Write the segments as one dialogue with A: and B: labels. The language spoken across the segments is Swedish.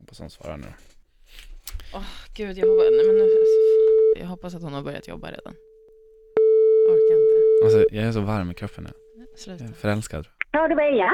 A: Hoppas hon svarar nu.
B: Åh gud, jag hoppas, nej, men nu, alltså, fan. jag hoppas att hon har börjat jobba redan. Orkar inte.
A: Alltså, jag är så varm i kroppen nu.
B: Sluta.
A: Jag är förälskad.
C: Ja, det var jag.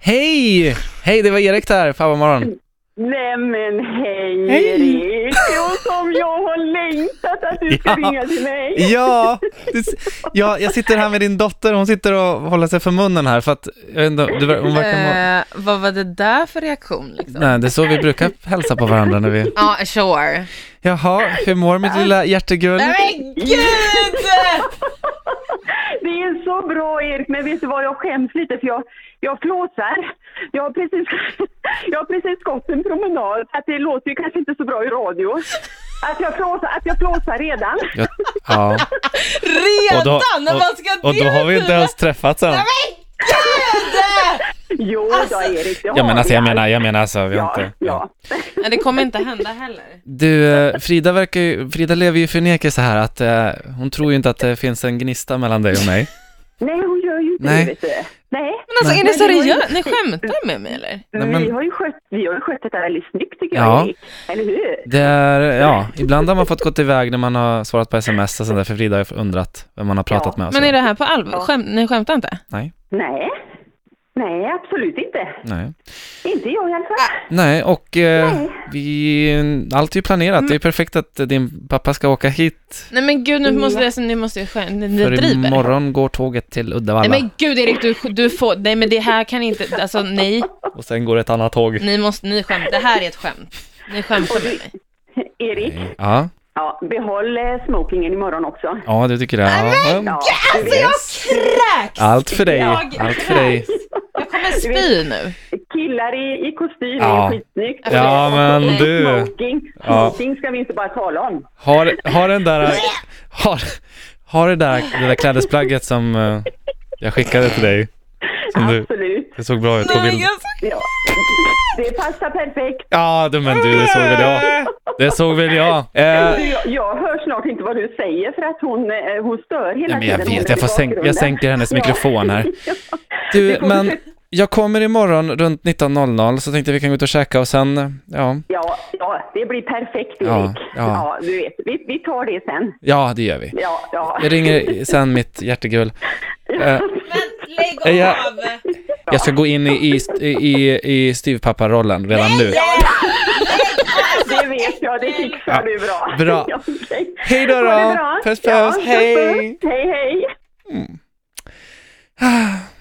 A: Hej! Hej, det var Erik där. Fan vad morgon.
C: Nej men hej,
A: Hej.
C: Erik! Jo, som jag har längtat att du ska
A: Ja.
C: ringa till mig.
A: Ja, det, s- ja, jag sitter här med din dotter. Hon sitter och håller sig för munnen här för att, jag vet inte, du, ver- hon verkar må...
B: Eh, vad var det där för reaktion liksom?
A: Nej, det är så vi brukar hälsa på varandra när vi...
B: Ja, sure.
A: Jaha, hur mår mitt lilla hjärtegull?
B: Nej men gud!
C: Det är så bra Erik, men vet du vad, jag skäms lite för jag, jag flåsar. Jag har, precis, jag har precis gått en promenad, att det låter ju kanske inte så bra i radio. Att jag flåsar, att jag flåsar redan.
A: Ja, ja.
B: Redan?
A: Och då,
B: när man ska
A: och, och då har vi inte ens träffats än.
C: Jo då Erik, det har
A: Ja men alltså
C: vi
A: jag
C: allt.
A: menar, jag menar alltså, vi har
C: Ja,
A: inte...
C: ja.
B: Nej, det kommer inte hända heller.
A: Du, eh, Frida verkar ju, Frida lever ju i förnekelse här att eh, hon tror ju inte att det finns en gnista mellan dig och mig.
C: Nej, hon gör ju inte
A: Nej.
C: det vet du. Nej.
B: Men alltså
A: Nej.
B: är ni seriösa? Ni skämtar med mig eller?
A: Nej, men-
C: Vi har ju skött, vi har ju skött detta väldigt snyggt tycker
A: Ja.
C: jag Erik. Eller hur?
A: Det är, ja, ibland har man fått gått iväg när man har svarat på sms och sådär, för Frida har ju undrat vem man har pratat
C: Ja,
A: med och så.
B: Men är det här på allvar? Skäm, ni skämtar inte?
A: Nej,
C: Nej. Nej, absolut inte.
A: nej.
C: Inte jag i alla fall.
A: Nej, och eh, vi, allt är ju planerat. Det
B: Mm.
A: är perfekt att din pappa ska åka hit,
B: Nej men gud, nu måste, alltså, ni måste ju skämta. Ni, ni
A: Mm. för
B: driver.
A: imorgon går tåget till
B: Nej
A: Uddevalla
B: men gud Erik, du, du får, nej men det här kan inte, alltså nej,
A: och sen går ett annat tåg.
B: ni måste, ni skämt, det här är ett skämt. Ni skämtar med mig.
C: Erik,
A: Ja,
C: ja, behåll eh, smokingen imorgon också.
A: ja du tycker det. Ja.
C: Du vet,
B: Kräks!
A: Allt för dig,
B: alltså, Jag-
A: allt för dig.
B: Jag kommer spy nu.
C: Killar i, i kostym
A: Ja.
C: är ju skitsnyggt.
A: Ja men
B: Nej.
A: du.
C: Smoking,
A: Ja.
C: smoking ska vi inte bara tala om.
A: Har, har den där, har, har det där, det där klädesplagget som eh, jag skickade till dig, som du,
C: Absolut.
A: det såg bra ut på bilden.
C: Ja. Det passar perfekt.
A: Ja, du, men du, det såg väl jag. Det såg väl jag. Eh,
C: Du, jag, jag hör snart inte vad du säger för att hon, eh, hon stör hela
A: nej, men jag
C: tiden.
A: vet, jag, får sänk, jag sänker hennes mikrofon här. Du, men jag kommer imorgon runt 19.00 så tänkte jag vi kan gå ut och käka och sen, ja,
C: Ja, ja, det blir perfekt Erik.
A: Ja,
C: Ja,
A: ja.
C: du vet. Vi, vi tar det sen.
A: ja det gör vi.
C: Ja, ja.
A: Jag ringer sen mitt hjärtegull. Eh,
B: Men lägg
A: Är jag-
B: av!
A: jag ska gå in i, i, i, i styvpapparollen redan nu.
C: Det vet jag, det fixar
A: Ja.
C: du bra.
A: Bra.
C: Ja, okej.
A: Hej då
C: Ha
A: då.
C: det bra.
A: Puss, puss.
C: Ja,
A: Hej.
C: puss. Hej, hej.